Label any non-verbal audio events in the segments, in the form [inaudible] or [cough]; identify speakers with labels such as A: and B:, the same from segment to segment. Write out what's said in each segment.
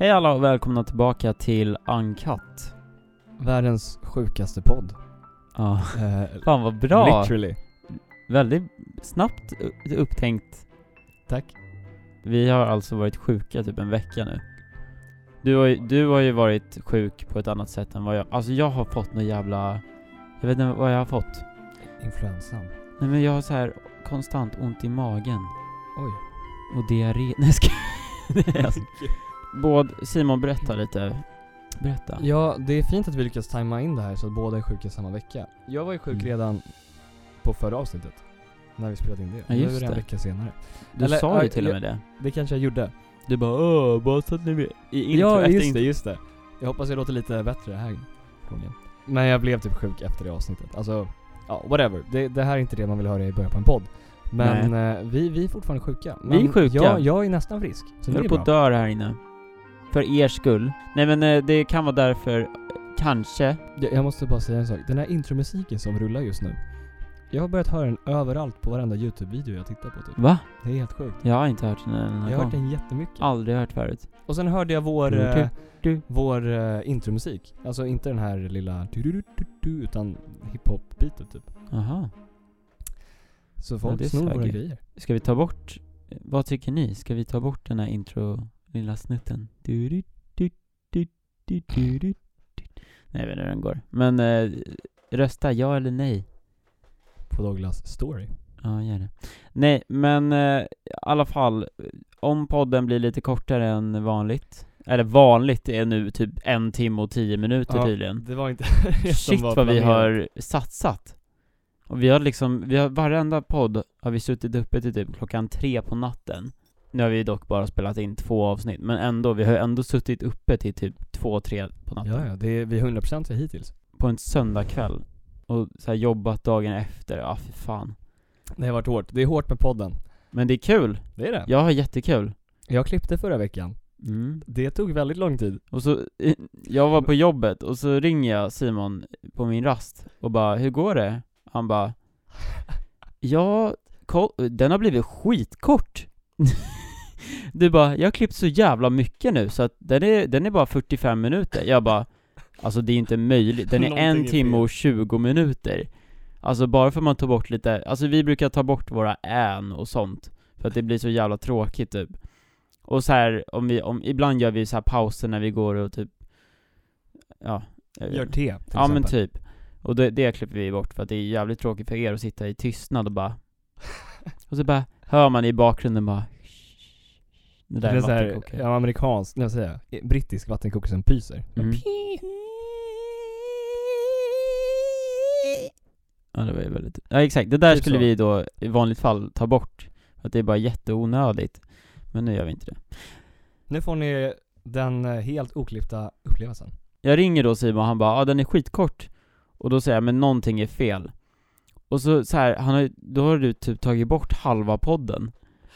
A: Hej alla och välkomna tillbaka till Uncut.
B: Världens sjukaste podd.
A: Ja, [laughs]
B: Eh,
A: fan vad bra.
B: Literally.
A: Väldigt snabbt u- upptänkt.
B: Tack.
A: Vi har alltså varit sjuka typ en vecka nu. Du har ju, du har ju varit sjuk på ett annat sätt än vad jag... Alltså jag har fått någon jävla... Jag vet inte vad jag har fått.
B: Influensan.
A: Nej men jag har så här konstant ont i magen. [laughs]
B: Oj.
A: Och diarré. [laughs] Nej jag skojar. Nej, alltså. Både, Simon berätta lite. Berätta.
B: Ja, det är fint att vi lyckas tajma in det här så att båda är sjuka samma vecka. Jag var ju sjuk
A: Mm.
B: redan på förra avsnittet. När vi spelade in det.
A: Ja,
B: nu
A: just
B: är det
A: det.
B: en vecka senare.
A: du
B: eller,
A: sa ju
B: ja,
A: till och med det.
B: Det kanske jag gjorde.
A: Du bara åh, bara så att ni vet. I intro,
B: ja,
A: efter
B: just
A: intro.
B: det, just det. Jag hoppas jag låter lite bättre här gången. Men jag blev typ sjuk efter det avsnittet. Alltså, ja, whatever. Det, det här är inte det man vill höra i början på en podd. Men eh, vi, vi är fortfarande sjuka.
A: Vi är
B: Men
A: sjuka.
B: Jag, jag är nästan frisk. Så
A: Jag
B: det är
A: håller på
B: bra.
A: att dö här inne. För er skull. Nej men eh, det kan vara därför, eh, kanske.
B: Jag, jag måste bara säga en sak. Den här intromusiken som rullar just nu. Jag har börjat höra den överallt på varenda YouTube-video jag tittar på typ.
A: Va?
B: Det är helt sjukt.
A: Jag har inte hört den här
B: Jag
A: någon
B: har hört
A: gång.
B: den jättemycket.
A: Aldrig hört förut.
B: Och sen hörde jag vår,
A: Du, du,
B: eh,
A: du.
B: vår eh, intromusik. Alltså inte den här lilla du-du-du-du-du, utan hiphop-biten typ.
A: Aha.
B: Så
A: Ja,
B: folk
A: det är
B: snor våra
A: swaggy.
B: grejer.
A: Ska vi ta bort, vad tycker ni? Ska vi ta bort den här intro, lilla snutten? Du, du, du, du, du, du, du. Nej jag vet inte hur den går. Men eh, rösta ja eller nej.
B: På Douglas story.
A: Ja, gör det. Nej, men eh, i alla fall, eh, om podden blir lite kortare än vanligt, eller vanligt är nu typ en timme och tio minuter
B: Ja,
A: tydligen.
B: Det var inte
A: Mm.
B: [laughs]
A: Shit vad vi har satsat. Och vi har liksom, vi har, varenda podd har vi suttit uppe till typ klockan tre på natten. Nu har vi dock bara spelat in två avsnitt, men ändå, vi har ju ändå suttit uppe till typ två, tre på natten.
B: Ja, ja. Det är, vi är 100% hittills.
A: På en söndagkväll. Och så här jobbat dagen efter, ja ah, fy fan.
B: Det har varit hårt. Det är hårt med podden.
A: Men det är kul,
B: Det är det.
A: jag har jättekul.
B: Jag klippte förra veckan.
A: Mm.
B: Det tog väldigt lång tid.
A: Och så, eh, jag var på jobbet och så ringer jag Simon på min rast och bara 'Hur går det?' Han bara 'Ja, koll, den har blivit skitkort' [laughs] Du bara 'Jag har klippt så jävla mycket nu så att den är, den är bara 45 minuter' Jag bara 'Alltså det är inte möjligt, den är
B: [laughs] Någonting
A: en
B: är
A: timme
B: fel."
A: och 20 minuter' Alltså bara för att man tar bort lite, alltså vi brukar ta bort våra 'än' och sånt För att det blir så jävla tråkigt typ och så här, om vi, om, ibland gör vi så här pauser när vi går och typ Ja, jag vet
B: Gör te
A: inte.
B: till
A: Ja men
B: exempel.
A: typ Och det, det klipper vi bort för att det är jävligt tråkigt för er att sitta i tystnad och bara typ.
B: [laughs]
A: Och så bara hör man i bakgrunden bara Det där
B: det
A: är
B: är såhär,
A: vattenkokare.
B: ja, amerikansk, nej vad säger jag, Eh, brittisk vattenkokare som pyser.
A: Mm. [laughs] Ja det var ju väldigt Ja exakt, det där
B: Typ
A: skulle
B: så.
A: vi då i vanligt fall ta bort För att det är bara jätteonödigt Men nu gör vi inte det
B: Nu får ni den eh, helt oklippta upplevelsen.
A: Jag ringer då Simon och han bara ah, den är skitkort' Och då säger jag 'men någonting är fel' Och så, så här, han har, ju- då har du typ tagit bort halva podden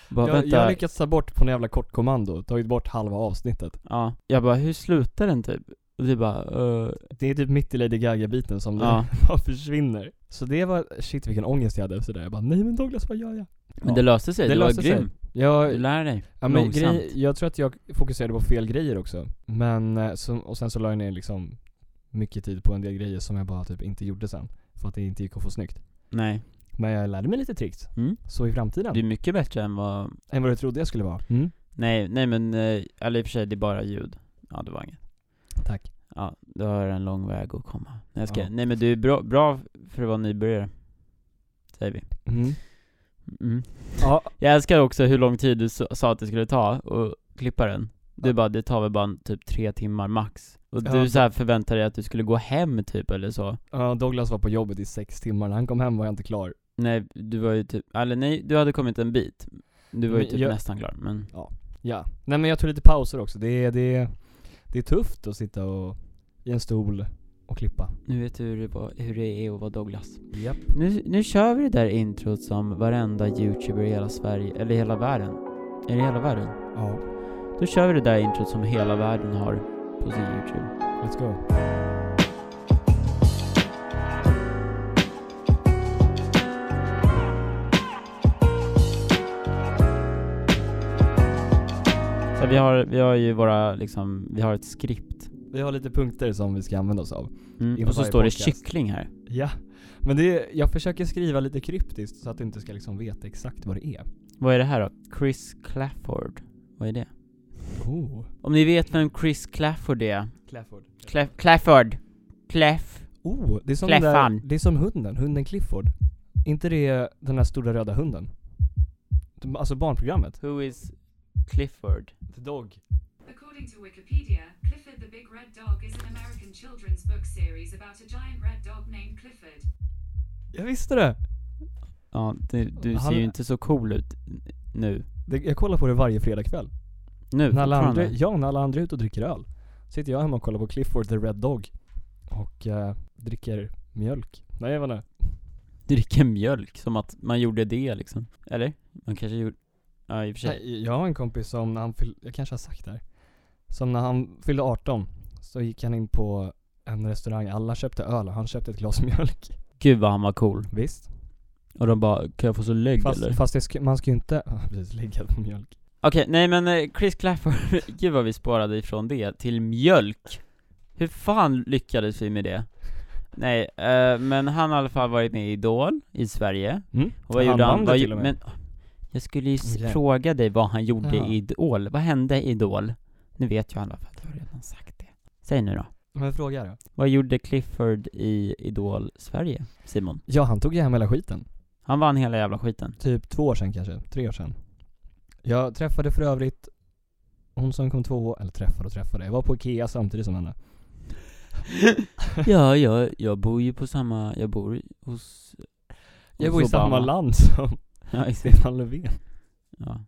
A: bara,
B: Jag,
A: vänta,
B: jag har lyckats ta bort på något jävla kortkommando, tagit bort halva avsnittet.
A: ja. jag bara 'hur slutar den typ?' Och du bara "Eh,
B: Det är typ mitt i Lady Gaga-biten som
A: ja.
B: [laughs] bara försvinner. Så det var, shit vilken ångest jag hade efter det. Jag bara, nej men Douglas vad gör jag?
A: Men det löste sig, det
B: Det
A: du var
B: löste sig.
A: grym
B: Jag,
A: Du lär dig
B: ja, men
A: långsamt.
B: grej, jag tror att jag fokuserade på fel grejer också. Men, eh, så, och sen så la jag ner liksom mycket tid på en del grejer som jag bara typ inte gjorde sen. För att det inte gick att få snyggt.
A: Nej,
B: Men jag lärde mig lite tricks.
A: Mm.
B: Så i framtiden.
A: du är mycket bättre än vad
B: Än vad du trodde jag skulle vara.
A: Mm. Nej, nej men, eh, eller i och för sig det är bara ljud Ja det var inget
B: Tack.
A: Ja, du har en lång väg att komma Nej, jag ska,
B: Ja.
A: nej men du är bra, bra för att vara nybörjare Säger vi mm.
B: Ja,
A: Jag älskar också hur lång tid du s- sa att det skulle ta och klippa den Du
B: Ja.
A: bara, det tar väl bara en- typ tre timmar max Och
B: Ja,
A: du
B: det-
A: så här förväntade dig att du skulle gå hem typ eller så
B: ja, Douglas var på jobbet i sex timmar. När han kom hem var jag inte klar.
A: Nej, du var ju typ, eller nej, du hade kommit en bit Du var ju
B: Men
A: typ
B: jag-
A: nästan klar, men
B: Ja. Nej men jag tog lite pauser också. Det är, det är, det är tufft att sitta och, i en stol och klippa.
A: nu vet du hur det, var, hur det är att vara Douglas
B: Japp.
A: nu, nu kör vi det där introt som varenda youtuber i hela Sverige, eller hela världen Är det hela världen?
B: Ja.
A: Då kör vi det där introt som hela världen har på sin youtube
B: Let's go.
A: så vi, har, vi har ju våra, liksom, vi har ett skript.
B: Vi har lite punkter som vi ska använda oss av.
A: Mm.
B: Inför
A: Och så
B: varje
A: står det
B: podcast.
A: kyckling här.
B: Ja. Men det är, jag försöker skriva lite kryptiskt så att du inte ska liksom veta exakt vad det är.
A: Vad är det här då? Chris Clafford. Vad är det?
B: Oh.
A: Om ni vet vem Chris Clafford är?
B: Clafford.
A: Clef- Clafford! Clef.
B: Oh, det är som, den där,
A: Cleffan.
B: det är som hunden, hunden Clifford. inte det den här stora röda hunden? De- Alltså barnprogrammet?
A: Who is Clifford?
B: The Dog.
C: According to Wikipedia, Clifford the Big Red Dog is an American children's book series about a giant red dog named Clifford.
B: Jag visste det!
A: Ja, du, du
B: Han-
A: ser ju inte så cool ut nu.
B: det jag kollar på det varje fredagkväll.
A: Nu,
B: När alla andra,
A: fortfarande.
B: ja, när alla andra är ute och dricker öl. Sitter jag hemma och kollar på Clifford the Red Dog. Och eh, dricker mjölk. Nej jag vet inte.
A: Dricka mjölk, som att man gjorde det liksom. Eller? Man kanske gjorde... Ja, i och för sig.
B: Nej, Jag har en kompis som när han fyllde, jag kanske har sagt det här. Som när han fyllde 18 så gick han in på en restaurang, alla köpte öl och han köpte ett glas [laughs] mjölk.
A: Gud vad han var cool.
B: Visst.
A: Och de bara, kan jag få så lögg eller?
B: Fast, fast det sk- man ska ju inte, ah, precis, ligga på mjölk.
A: Okej, nej men eh, Chris Clafford, [laughs] gud vad vi spårade ifrån det till mjölk. Hur fan lyckades vi med det? Nej, eh, men han har i alla fall varit med i Idol i Sverige.
B: Mm.
A: Och vad gjorde
B: vann
A: han?
B: det
A: Vad,
B: till
A: gjo-
B: och med.
A: men, jag skulle ju s-
B: Jävlar.
A: fråga dig vad han gjorde
B: Jaha.
A: i Idol. Vad hände i Idol? Nu vet jag alla för att jag har redan sagt det. Säg nu då.
B: Men fråga då.
A: Vad gjorde Clifford i Idol Sverige, Simon?
B: Ja, han tog ju hem hela skiten.
A: Han vann hela jävla skiten.
B: Typ två år sedan kanske, tre år sedan. Jag träffade för övrigt hon som kom två år, eller träffade och träffade, jag var på Ikea samtidigt
A: [laughs]
B: som henne.
A: ja, jag, jag bor ju på samma, jag bor hos...
B: Jag
A: hos
B: bor i samma
A: Obama.
B: land som
A: Ja, exakt.
B: Stefan Löfven.
A: Ja.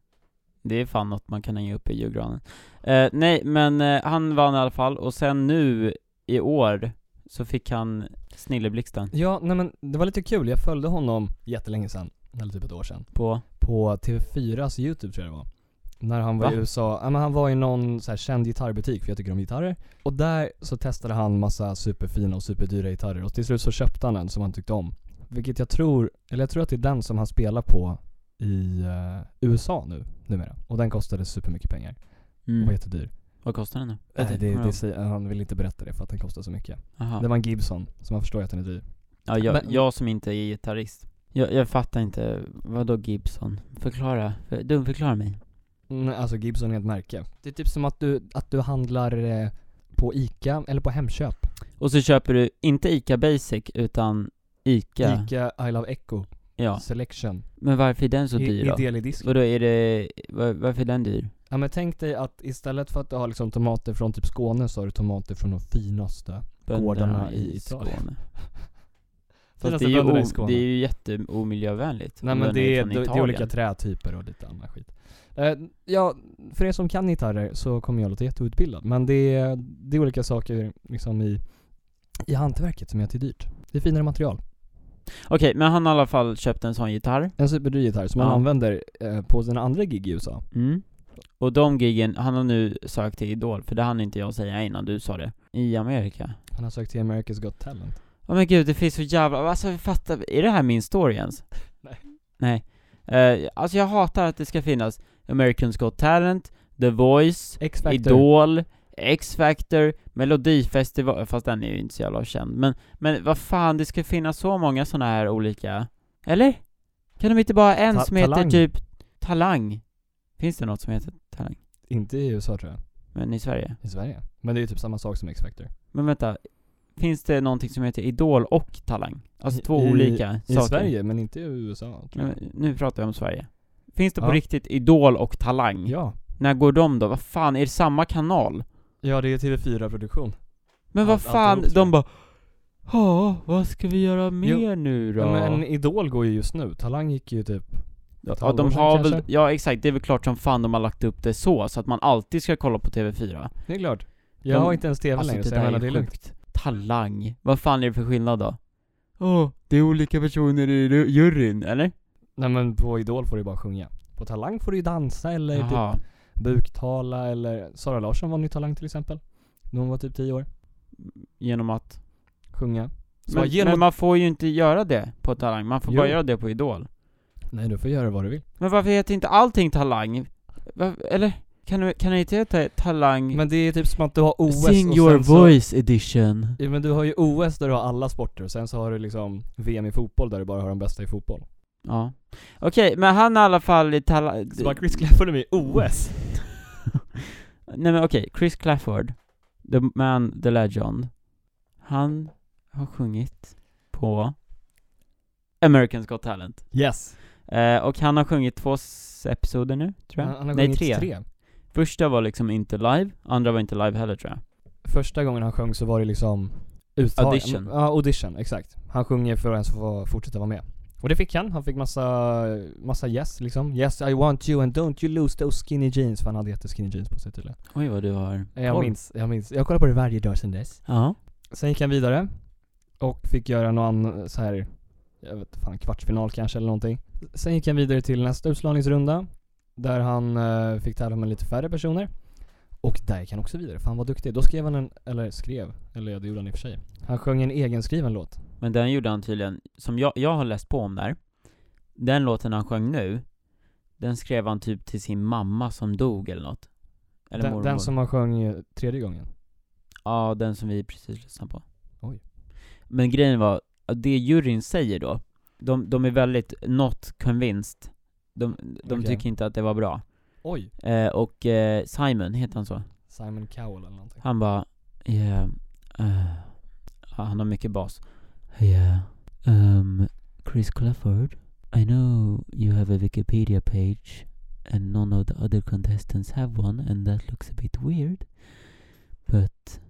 A: Det är fan något man kan hänga upp i julgranen. Eh, nej, men eh, han vann i alla fall, och sen nu i år så fick han Snilleblixten
B: Ja, nej men det var lite kul. Jag följde honom jättelänge sedan, eller typ ett år sedan,
A: på...
B: på TV4s YouTube tror jag det var. När han var
A: Va?
B: i USA, ja, men han var i någon så här känd gitarrbutik för jag tycker om gitarrer. Och där så testade han massa superfina och superdyra gitarrer och till slut så köpte han en som han tyckte om. Vilket jag tror, eller jag tror att det är den som han spelar på i eh, USA nu, numera. Och den kostade supermycket pengar. Den var
A: Mm.
B: jättedyr.
A: Vad kostar den nu?
B: Nej, det, det,
A: Kommer
B: säger- han vill inte berätta det för att den kostar så mycket.
A: jag ihåg. Aha.
B: Det var en Gibson, så man förstår ju att den är dyr.
A: Ja, jag,
B: Men-
A: jag som inte är gitarrist. Jag, jag fattar inte, vadå Gibson? Förklara, För, dumförklara mig.
B: Mm, alltså Gibson är ett märke. Det är typ som att du, att du handlar eh, på ICA eller på Hemköp.
A: Och så köper du inte ICA Basic, utan ICA.
B: ICA I Love Echo,
A: Ja.
B: Selection,
A: Men varför är den så
B: I-
A: dyr då?
B: ideell i disk.
A: Vadå, är det, var, varför är den dyr?
B: Ja men tänk dig att istället för att du har liksom tomater från typ Skåne så har du tomater från de finaste. Gårdarna i Italien.
A: Skåne. Fast
B: Finaste
A: det är, ju
B: bönderna i
A: o,
B: Skåne.
A: det är ju jätteomiljövänligt.
B: Nej
A: om
B: men
A: den
B: det är,
A: från
B: det, det är
A: Italien.
B: olika trätyper och lite annan skit. Eh, ja, för er som kan gitarrer så kommer jag låta jätteutbildad men det är, det är olika saker liksom i, i hantverket som gör att det är dyrt. Det är finare material.
A: Okej, men han har i alla fall köpt en sån gitarr.
B: En superdyr gitarr som han
A: Ja.
B: använder eh, på sina andra gig i USA.
A: Mm. Och de giggen, han har nu sökt till Idol, för det hann inte jag säga innan du sa det. I Amerika.
B: Han har sökt till America's Got Talent.
A: Åh men gud, det finns så jävla, alltså fatta, är det här min story ens?
B: Nej.
A: Nej. Eh, alltså jag hatar att det ska finnas American Got Talent, The Voice,
B: X-Factor.
A: Idol, X-Factor, Melodifestival, fast den är ju inte så jävla känd, men, men vad fan, det ska finnas så många såna här olika, eller? Kan de inte bara ha en
B: Ta-
A: som heter
B: Talang.
A: typ Talang? Finns det något som heter Talang?
B: Inte i USA tror jag.
A: Men i Sverige?
B: I Sverige. Men det är ju typ samma sak som X-Factor.
A: Men vänta, finns det någonting som heter Idol och Talang? Alltså
B: I-
A: två
B: i-
A: olika
B: I
A: saker?
B: Sverige, men inte i USA tror
A: Nej,
B: jag.
A: men nu pratar jag om Sverige. Finns det på
B: Ja.
A: riktigt Idol och Talang?
B: Ja.
A: När går de då? Vad fan, är det samma kanal?
B: Ja, det är TV4-produktion.
A: Men vad
B: Allt-
A: fan,
B: alltihop,
A: de bara Ja, vad ska vi göra mer nu då?
B: Ja, men Idol går ju just nu. Talang gick ju typ... ett
A: ja,
B: halvår
A: de
B: sedan
A: har väl,
B: kanske.
A: ja exakt, det är väl klart som fan de har lagt upp det så, så att man alltid ska kolla på TV4
B: Det är klart. Jag
A: De-
B: har inte ens TV
A: Alltså
B: längre,
A: det
B: så jag
A: där
B: menar det
A: är
B: är lugnt.
A: sjukt Talang, vad fan är det för skillnad då? Ja, det är olika personer i ru- juryn, eller?
B: Nej men på Idol får du ju bara sjunga. På Talang får du ju dansa eller
A: Jaha,
B: typ buktala eller... Sara Larsson var ny Talang till exempel. När hon var typ 10 år.
A: genom att
B: Sjunga. Så
A: men,
B: genom
A: men man får ju inte göra det på Talang, man får
B: Jo.
A: bara göra det på Idol
B: Nej, du får göra vad du vill.
A: Men varför heter inte allting Talang? Va, eller? Kan du, kan du inte heta Talang
B: Men det är typ som att du har OS
A: Mm. Sing
B: och
A: your
B: sen så-
A: voice edition?
B: Ja, men du har ju OS där du har alla sporter och sen så har du liksom VM i fotboll där du bara har de bästa i fotboll.
A: Ja. Okej, men han är i alla fall i Talang...
B: Så bara Chris Clafford är med i OS?
A: [laughs] Nej men okej, Chris Clafford, the man, the legend, han har sjungit på American Got Talent.
B: Yes.
A: Eh, och han har sjungit två s- episoder nu, tror jag.
B: Han, han har
A: Nej,
B: sjungit
A: tre. Första var liksom inte live, andra var inte live heller tror jag.
B: Första gången han sjöng så var det liksom uttag-
A: Audition.
B: Ja, audition, exakt. Han sjunger för att ens få fortsätta vara med. Och det fick han, han fick massa, massa yes liksom. Yes I want you and don't you lose those skinny jeans. För han hade jätteskinny jeans på sig tydligen.
A: Oj vad du har
B: Jag
A: koll.
B: minns, jag minns. Jag kollar på det varje dag sedan dess.
A: Ja.
B: Sen gick han vidare och fick göra någon annan så här, jag vet fan, kvartsfinal kanske eller någonting. Sen gick han vidare till nästa utslagningsrunda där han eh, fick tävla med lite färre personer. Och där gick han också vidare, fan vad duktig. Då skrev han en, eller skrev, eller ja, det gjorde han i och för sig. Han sjöng en egenskriven låt.
A: Men den gjorde han tydligen, som jag, jag har läst på om där, den låten han sjöng nu, den skrev han typ till sin mamma som dog eller något. Eller
B: Den,
A: mormor.
B: den som han sjöng eh, tredje gången.
A: Ja, den som vi precis lyssnade på.
B: Oj.
A: Men grejen var, att det juryn säger då, de, de är väldigt not convinced. De, de
B: Okej.
A: tycker inte att det var bra.
B: Oj!
A: Eh, och eh, Simon, heter han så?
B: Simon Cowell eller någonting.
A: Han bara, yeah, eh, ja, han har mycket bas. Yeah, um, Chris Clafford, I know you have a Wikipedia page and none of the other contestants have one and that looks a bit weird. But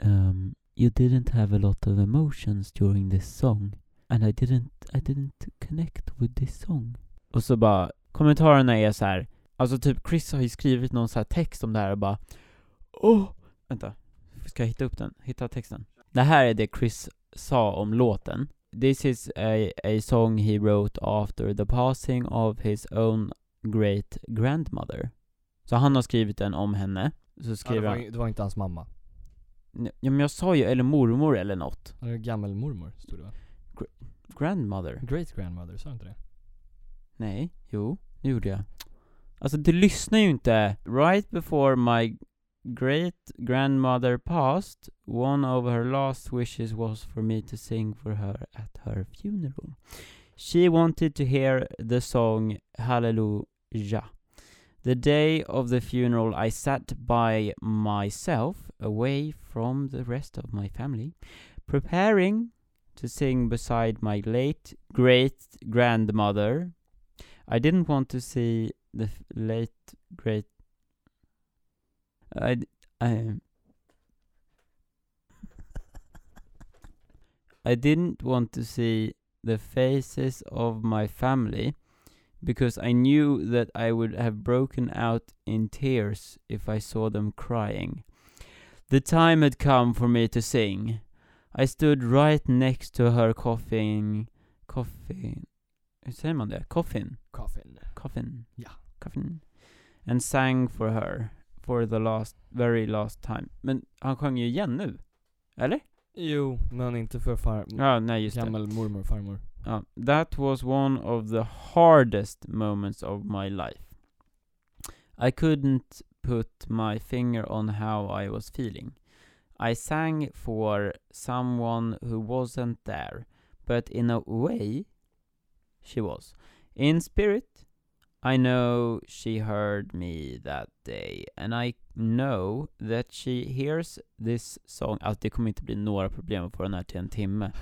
A: um, you didn't have a lot of emotions during this song and I didn't, I didn't connect with this song. Och så bara, kommentarerna är så här. alltså typ Chris har ju skrivit någon så här text om det här och bara Åh, Vänta, ska jag hitta upp den? Hitta texten. Det här är det Chris sa om låten. This is a, a song he wrote after the passing of his own great grandmother. Så han har skrivit den om henne. Så
B: Ja, det,
A: skriver
B: var,
A: han...
B: ju- det var inte hans mamma.
A: Ja men jag sa ju, eller mormor eller något.
B: Han är gammelmormor, stod det va?
A: Grandmother?
B: Great grandmother, sa du inte det?
A: Nej, jo, det gjorde jag. Alltså du lyssnar ju inte. Right before my great grandmother passed, one of her last wishes was for me to sing for her at her funeral. She wanted to hear the song Hallelujah. The day of the funeral I sat by myself, away from the rest of my family, preparing to sing beside my late great grandmother I didn't want to see the f- late great. I, d- I, I didn't want to see the faces of my family because I knew that I would have broken out in tears if I saw them crying. The time had come for me to sing. I stood right next to her coughing, coughing. Hur säger man det? Coffin.
B: Coffin.
A: Coffin.
B: Ja.
A: Coffin. And sang for her for the last, very last time. Men han sjöng ju igen nu. Eller?
B: Jo, men inte för far...
A: Ja, nej just det.
B: Gammelmormor, farmor.
A: Ja. That was one of the hardest moments of my life. I couldn't put my finger on how I was feeling. I sang for someone who wasn't there, but in a way, she was. In spirit, I know she heard me that day, and I know that she hears this song. Alltså det kommer inte bli några problem att få den här till en
B: [laughs]
A: timme.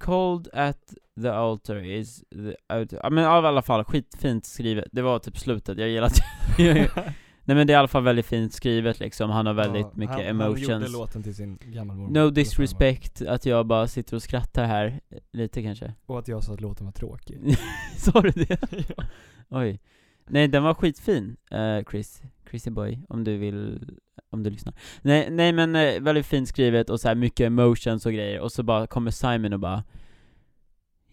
A: Cold at the altar is the out- Ja men av alla fall, skitfint skrivet. Det var typ slutet, jag gillar det.
B: [laughs]
A: [laughs] Nej men det är i alla fall väldigt fint skrivet liksom, han har väldigt
B: Ja,
A: mycket
B: han,
A: emotions.
B: Han gjorde låten till sin gammelmormor.
A: No disrespect att jag bara sitter och skrattar här, eh, lite kanske. [laughs]
B: Och att jag sa att låten var tråkig.
A: Sa du det?
B: [laughs]
A: Oj. Nej den var skitfin, eh, Chris. Chrissy boy, om du vill, om du lyssnar. Nej, nej men eh, väldigt fint skrivet och så här mycket emotions och grejer och så bara kommer Simon och bara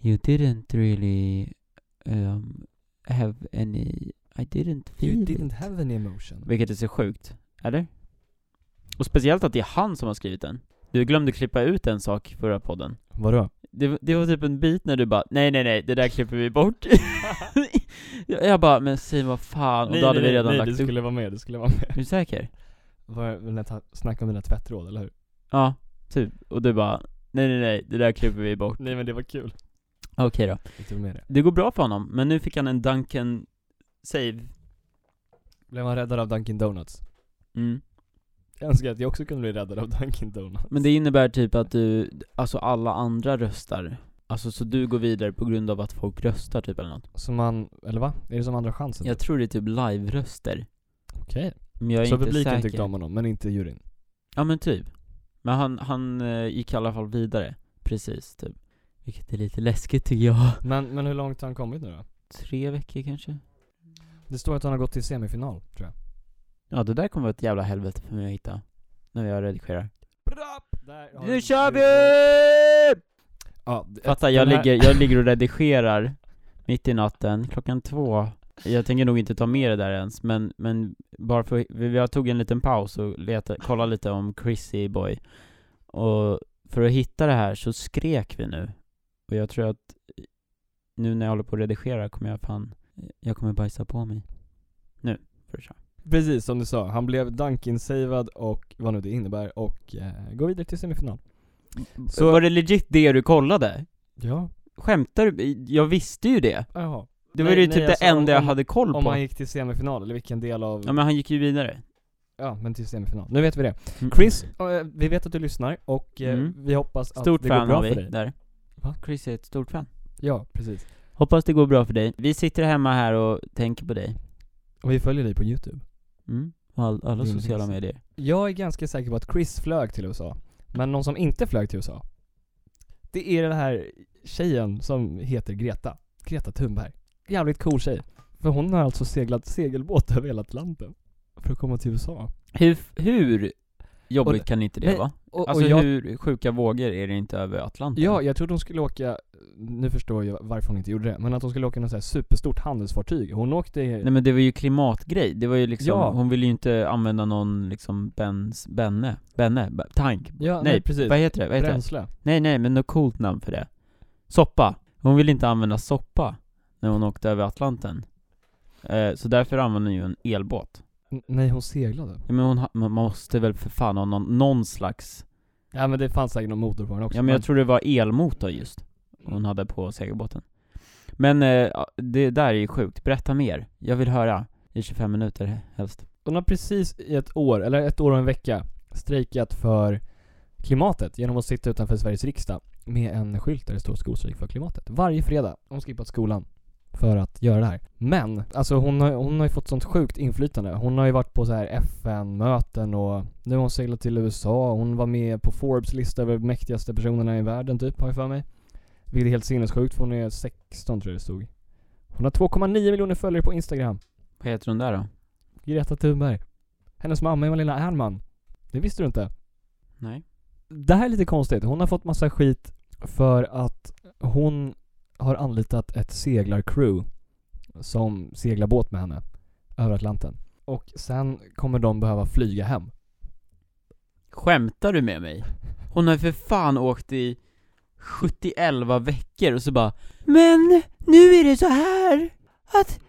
A: You didn't really um, have any, I didn't feel
B: You
A: it."
B: didn't have any emotion.
A: Vilket är så sjukt, eller? Och speciellt att det är han som har skrivit den. Du glömde klippa ut en sak i förra podden.
B: Vadå? [laughs]
A: Det, det var typ en bit när du bara, nej nej nej, det där klipper vi bort. Jag jag bara, men Simon vad fan, och då hade vi redan
B: nej,
A: lagt
B: du
A: upp.
B: skulle vara med, du skulle vara med.
A: Är du säker?
B: Var, vill jag ta, snacka om mina tvättråd, eller hur?
A: Ja, typ. Och du bara, nej nej nej, det där klipper vi bort.
B: Nej men det var kul.
A: Okej då.
B: Jag tog med det.
A: Det går bra för honom, men nu fick han en Duncan save.
B: Blev man räddad av Dunkin' Donuts?
A: Mm.
B: Jag önskar att jag också kunde bli räddad av Dunkin' Donuts.
A: Men det innebär typ att du, alltså alla andra röstar. Alltså så du går vidare på grund av att folk röstar typ eller något.
B: Som man, eller va? Är det som andra chansen?
A: Jag tror det är typ live-röster.
B: Okej.
A: Men jag är
B: Så
A: inte
B: publiken
A: säker.
B: tyckte om honom, men inte juryn.
A: Ja men typ. Men han, han eh, gick i alla fall vidare. Precis, typ. Vilket är lite läskigt tycker jag.
B: Men, men hur långt har han kommit nu då?
A: Tre veckor kanske?
B: Det står att han har gått till semifinal, tror jag.
A: Ja det där kommer vara ett jävla helvete för mig att hitta. När jag redigerar.
B: Bra! Där har
A: Nu
B: jag-
A: kör vi!
B: Ja, ett-
A: Fatta, jag,
B: den här-
A: ligger, jag ligger och redigerar mitt i natten, klockan två. Jag tänker nog inte ta med det där ens, men, men bara för, vi- jag tog en liten paus och leta, kollade lite om Chrissy Boy. Och för att hitta det här så skrek vi nu. Och jag tror att nu när jag håller på att redigera kommer jag fan, jag kommer bajsa på mig. Nu, får du köra.
B: Precis som du sa, han blev Dunkin-savad och vad nu det innebär och eh, går vidare till semifinal.
A: Så var det legit det du kollade?
B: Ja.
A: Skämtar du? Jag visste ju det.
B: Jaha.
A: Det var
B: Nej,
A: ju
B: nej,
A: typ det
B: alltså, om-
A: enda jag
B: om-
A: hade koll på.
B: Om han gick till semifinal, eller vilken del av...
A: Mm, Ja men han gick ju vidare.
B: Ja, men till semifinal. Nu vet vi det.
A: Mm.
B: Chris, eh, vi vet att du lyssnar och eh,
A: Mm.
B: vi hoppas att
A: Stort
B: det går
A: fan
B: bra
A: har vi
B: för dig.
A: där.
B: Va?
A: Chris är ett stort fan.
B: Ja, precis.
A: Hoppas det går bra för dig. Vi sitter hemma här och tänker på dig.
B: Och vi följer dig på youtube.
A: Mm. Och all, alla
B: Din
A: sociala
B: resa.
A: medier.
B: Jag är ganska säker på att Chris flög till USA. Men någon som inte flög till USA, det är den här tjejen som heter Greta. Greta Thunberg. Jävligt cool tjej. För hon har alltså seglat segelbåt över hela Atlanten. För att komma till USA.
A: Hur, hur jobbigt
B: Och-
A: kan inte det
B: nej,
A: vara?
B: Och,
A: Alltså
B: och jag,
A: hur sjuka vågor är det inte över Atlanten?
B: ja, jag trodde hon skulle åka, nu förstår jag varför hon inte gjorde det, men att hon skulle åka något så här superstort handelsfartyg. Hon åkte
A: Nej men det var ju klimatgrej, det var ju liksom,
B: Ja.
A: hon ville ju inte använda någon liksom Bens, Benne, Benne, B- tank.
B: ja,
A: nej,
B: precis.
A: Vad heter det? Vad heter det?
B: Bränsle.
A: Nej nej, men något coolt namn för det. Soppa. Hon ville inte använda soppa när hon åkte över Atlanten. Eh, så därför använde hon ju en elbåt.
B: N- Nej, hon seglade.
A: Ja, men hon ha, man måste väl för fan ha någon, någon slags
B: Ja men det fanns säkert någon motor på den också.
A: Ja men jag tror det var elmotor just Hon hade på segelbåten Men eh, ja, det där är ju sjukt, berätta mer Jag vill höra I 25 minuter helst
B: Hon har precis i ett år, eller ett år och en vecka, strejkat för klimatet genom att sitta utanför Sveriges riksdag med en skylt där det står skolstrejk för klimatet. Varje fredag. Hon skippat skolan för att göra det här. Men, alltså hon har, hon har ju fått sånt sjukt inflytande. Hon har ju varit på så här FN-möten och nu har hon seglat till USA. Hon var med på Forbes lista över mäktigaste personerna i världen typ, har jag för mig. Vilket är helt sinnessjukt för hon är 16 tror jag det stod. Hon har 2,9 miljoner följare på Instagram.
A: Vad heter hon där då?
B: Greta Thunberg. Hennes mamma är Malena Ernman. Det visste du inte.
A: Nej
B: Det här är lite konstigt. Hon har fått massa skit för att hon har anlitat ett seglarcrew som seglar båt med henne över Atlanten. Och sen kommer de behöva
A: [laughs]
B: flyga hem.
A: Skämtar du med mig? Hon har för fan åkt i 71 veckor och så bara Men nu är det så här att,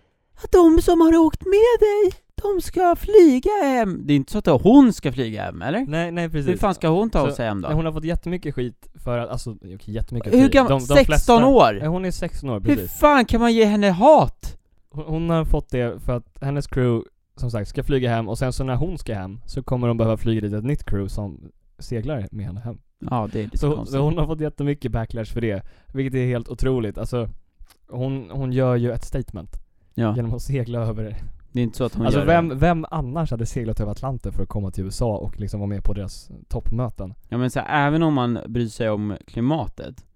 A: att de som har åkt med dig, de ska flyga hem Det är inte så att hon ska flyga hem eller?
B: Nej, nej precis.
A: Hur fan ska hon ta
B: Så-
A: oss hem då?
B: Nej, hon har fått jättemycket skit för att, alltså okej jättemycket.
A: Hur gammal? 16
B: Nej,
A: år?
B: hon är 16 år
A: Hur
B: precis.
A: fan kan man ge henne hat?
B: Hon, hon har fått det för att hennes crew, som sagt, ska flyga hem och sen så när hon ska hem så kommer de behöva flyga dit ett nytt crew som seglar med henne hem.
A: Ja, det är lite
B: Så,
A: konstigt.
B: så hon har fått jättemycket backlash för det, vilket är helt otroligt. Alltså, hon, hon gör ju ett statement
A: ja,
B: genom att segla över...
A: det är inte så att hon
B: alltså
A: gör det.
B: vem, vem annars hade seglat över Atlanten för att komma till USA och liksom vara med på deras toppmöten?
A: Ja men så här, även om man bryr sig om klimatet.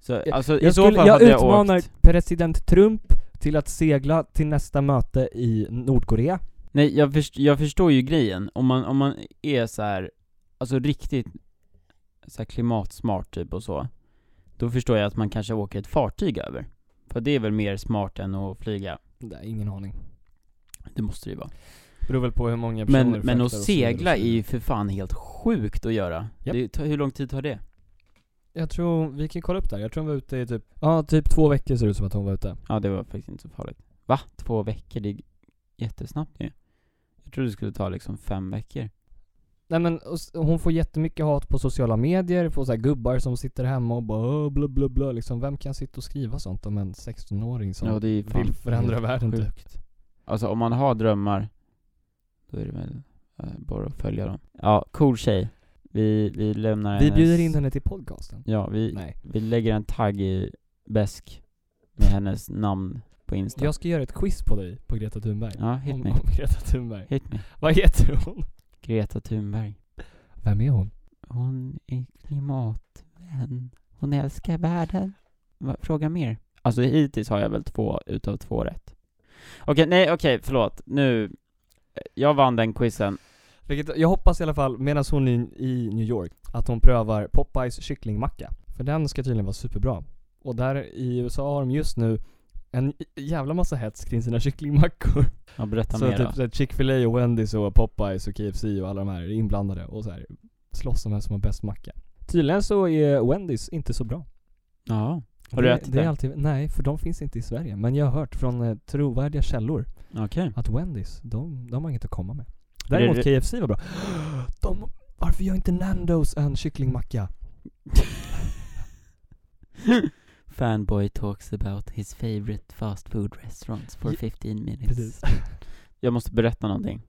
A: Så alltså i
B: jag
A: så
B: skulle-
A: fall
B: jag
A: hade jag
B: utmanar
A: åkt...
B: president Trump till att segla till nästa möte i Nordkorea.
A: Nej jag, först, jag förstår ju grejen, om man, om man är så här, alltså riktigt så här klimatsmart typ och så. Då förstår jag att man kanske åker ett fartyg över. För det är väl mer smart än att flyga.
B: Nej, ingen aning.
A: Det måste det ju vara.
B: Beror väl på hur många personer
A: Men,
B: du
A: men
B: fraktar
A: att
B: och så vidare och så
A: segla är
B: vidare.
A: ju för fan helt sjukt att göra.
B: Japp.
A: Det tar- hur lång tid tar det?
B: Jag tror, vi kan kolla upp det här. Jag tror hon var ute i typ, ja typ två veckor ser det ut som att hon var ute.
A: Ja det var faktiskt inte så farligt. Va? Två veckor? Det är jättesnabbt ju. Jag trodde det skulle ta liksom fem veckor.
B: Nej men och s- hon får jättemycket hat på sociala medier, får så här gubbar som sitter hemma och bara "Åh, blö blö blö liksom. Vem kan sitta och skriva sånt om en 16-åring som
A: ja, det är fan
B: vill förändra världen typ?
A: sjukt. Alltså om man har drömmar, då är det väl eh, bara att följa dem. Ja, cool tjej. Vi, vi lämnar
B: Vi
A: hennes-
B: bjuder in henne till podcasten.
A: Ja, vi,
B: Nej.
A: vi lägger en tagg i Besk med hennes namn på Insta.
B: Jag ska göra ett quiz på dig på Greta Thunberg.
A: Ja, hit
B: om,
A: me.
B: om Greta Thunberg.
A: Hit me.
B: Vad heter hon?
A: Greta Thunberg.
B: Vem är hon?
A: Hon är klimatvän. Hon älskar världen. Va, fråga mer. Alltså hittills har jag väl två utav två rätt. Okej, nej okej, förlåt. Nu, eh, jag vann den quizen.
B: Vilket, jag hoppas i alla fall, medan hon är i New York, att hon prövar Popeyes kycklingmacka. För den ska tydligen vara superbra. Och där i USA har de just nu en jävla massa hets kring sina kycklingmackor.
A: Ja, berätta
B: Så
A: mer
B: typ
A: då.
B: så här Chick-fil-A och Wendys och Popeyes och KFC och alla de här är inblandade och så här slåss om vem som har bäst macka. Tydligen så är Wendys inte så bra.
A: Ja, Har du
B: det,
A: ätit
B: det? Är
A: det?
B: alltid, nej, för de finns inte i Sverige. Men jag har hört från eh, trovärdiga källor [laughs]
A: okej.
B: att Wendys, de, de har inget att komma med.
A: Men
B: Däremot
A: är
B: KFC var bra. [gasps] De, varför gör inte Nandos en kycklingmacka?
A: Fanboy talks about his favorite fast food restaurants for
B: Ja,
A: 15 minutes.
B: precis.
A: [laughs] Jag måste berätta någonting.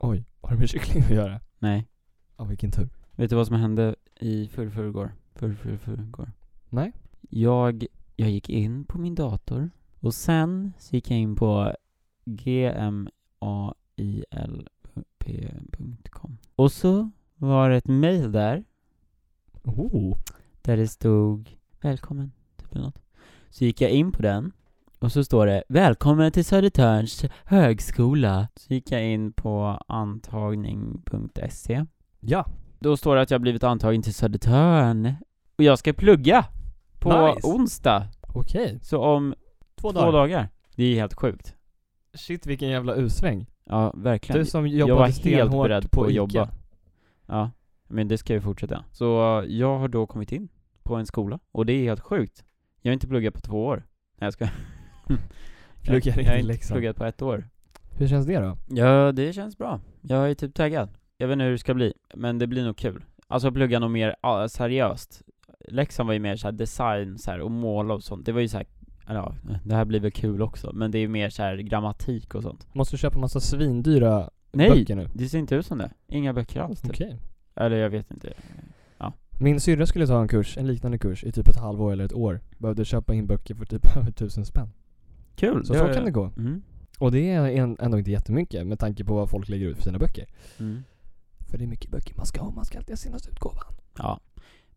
B: Oj, har det med kyckling att göra?
A: Nej.
B: Ja, vilken tur.
A: Vet du vad som hände i förrförrgår? Förrförrförrgår.
B: Nej.
A: Jag, jag gick in på min dator och sen så gick jag in på gmail.com och så var det ett mail där,
B: Oh.
A: där det stod 'Välkommen' typ eller något. Så gick jag in på den och så står det 'Välkommen till Södertörns högskola' Så gick jag in på antagning.se
B: Ja,
A: E. då står det att jag blivit antagen till Södertörn och jag ska plugga på
B: Nice.
A: onsdag,
B: okej.
A: så om
B: Två,
A: två
B: dagar.
A: dagar. Det är helt sjukt.
B: Shit vilken jävla usväng.
A: Ja, verkligen.
B: Du som
A: jag
B: jobbade
A: var helt
B: stenhårt
A: beredd på att
B: Ica.
A: jobba. Ja, men det ska ju fortsätta. Så eh, jag har då kommit in på en skola och det är helt sjukt. Jag har inte pluggat på två år. Nej jag
B: [laughs]
A: ska.
B: Pluggar in
A: jag har
B: i
A: inte
B: Leksand.
A: pluggat på ett år.
B: Hur känns det då?
A: Ja, det känns bra. Jag är typ taggad. Jag vet inte hur det ska bli, men det blir nog kul. Alltså jag pluggar nog mer ja, seriöst. Läxan var ju mer så här design så här, och måla och sånt. Det var ju så här, ja, det här blir väl kul också, men det är ju mer så här grammatik och sånt.
B: Måste du köpa massa svindyra
A: Nej!
B: böcker nu?
A: Det ser inte ut som det. Inga böcker alls typ.
B: Okej.
A: Eller jag vet inte.
B: Min syrra skulle ta en kurs, en liknande kurs, i typ ett halvår eller ett år. Behövde köpa in böcker för typ [laughs] över tusen spänn.
A: Kul!
B: Så så kan det gå.
A: Mm.
B: Och det är en- ändå inte jättemycket med tanke på vad folk lägger ut för sina böcker.
A: Mm.
B: För det är mycket böcker man ska ha, man ska alltid ha senaste utgåvan.
A: Ja.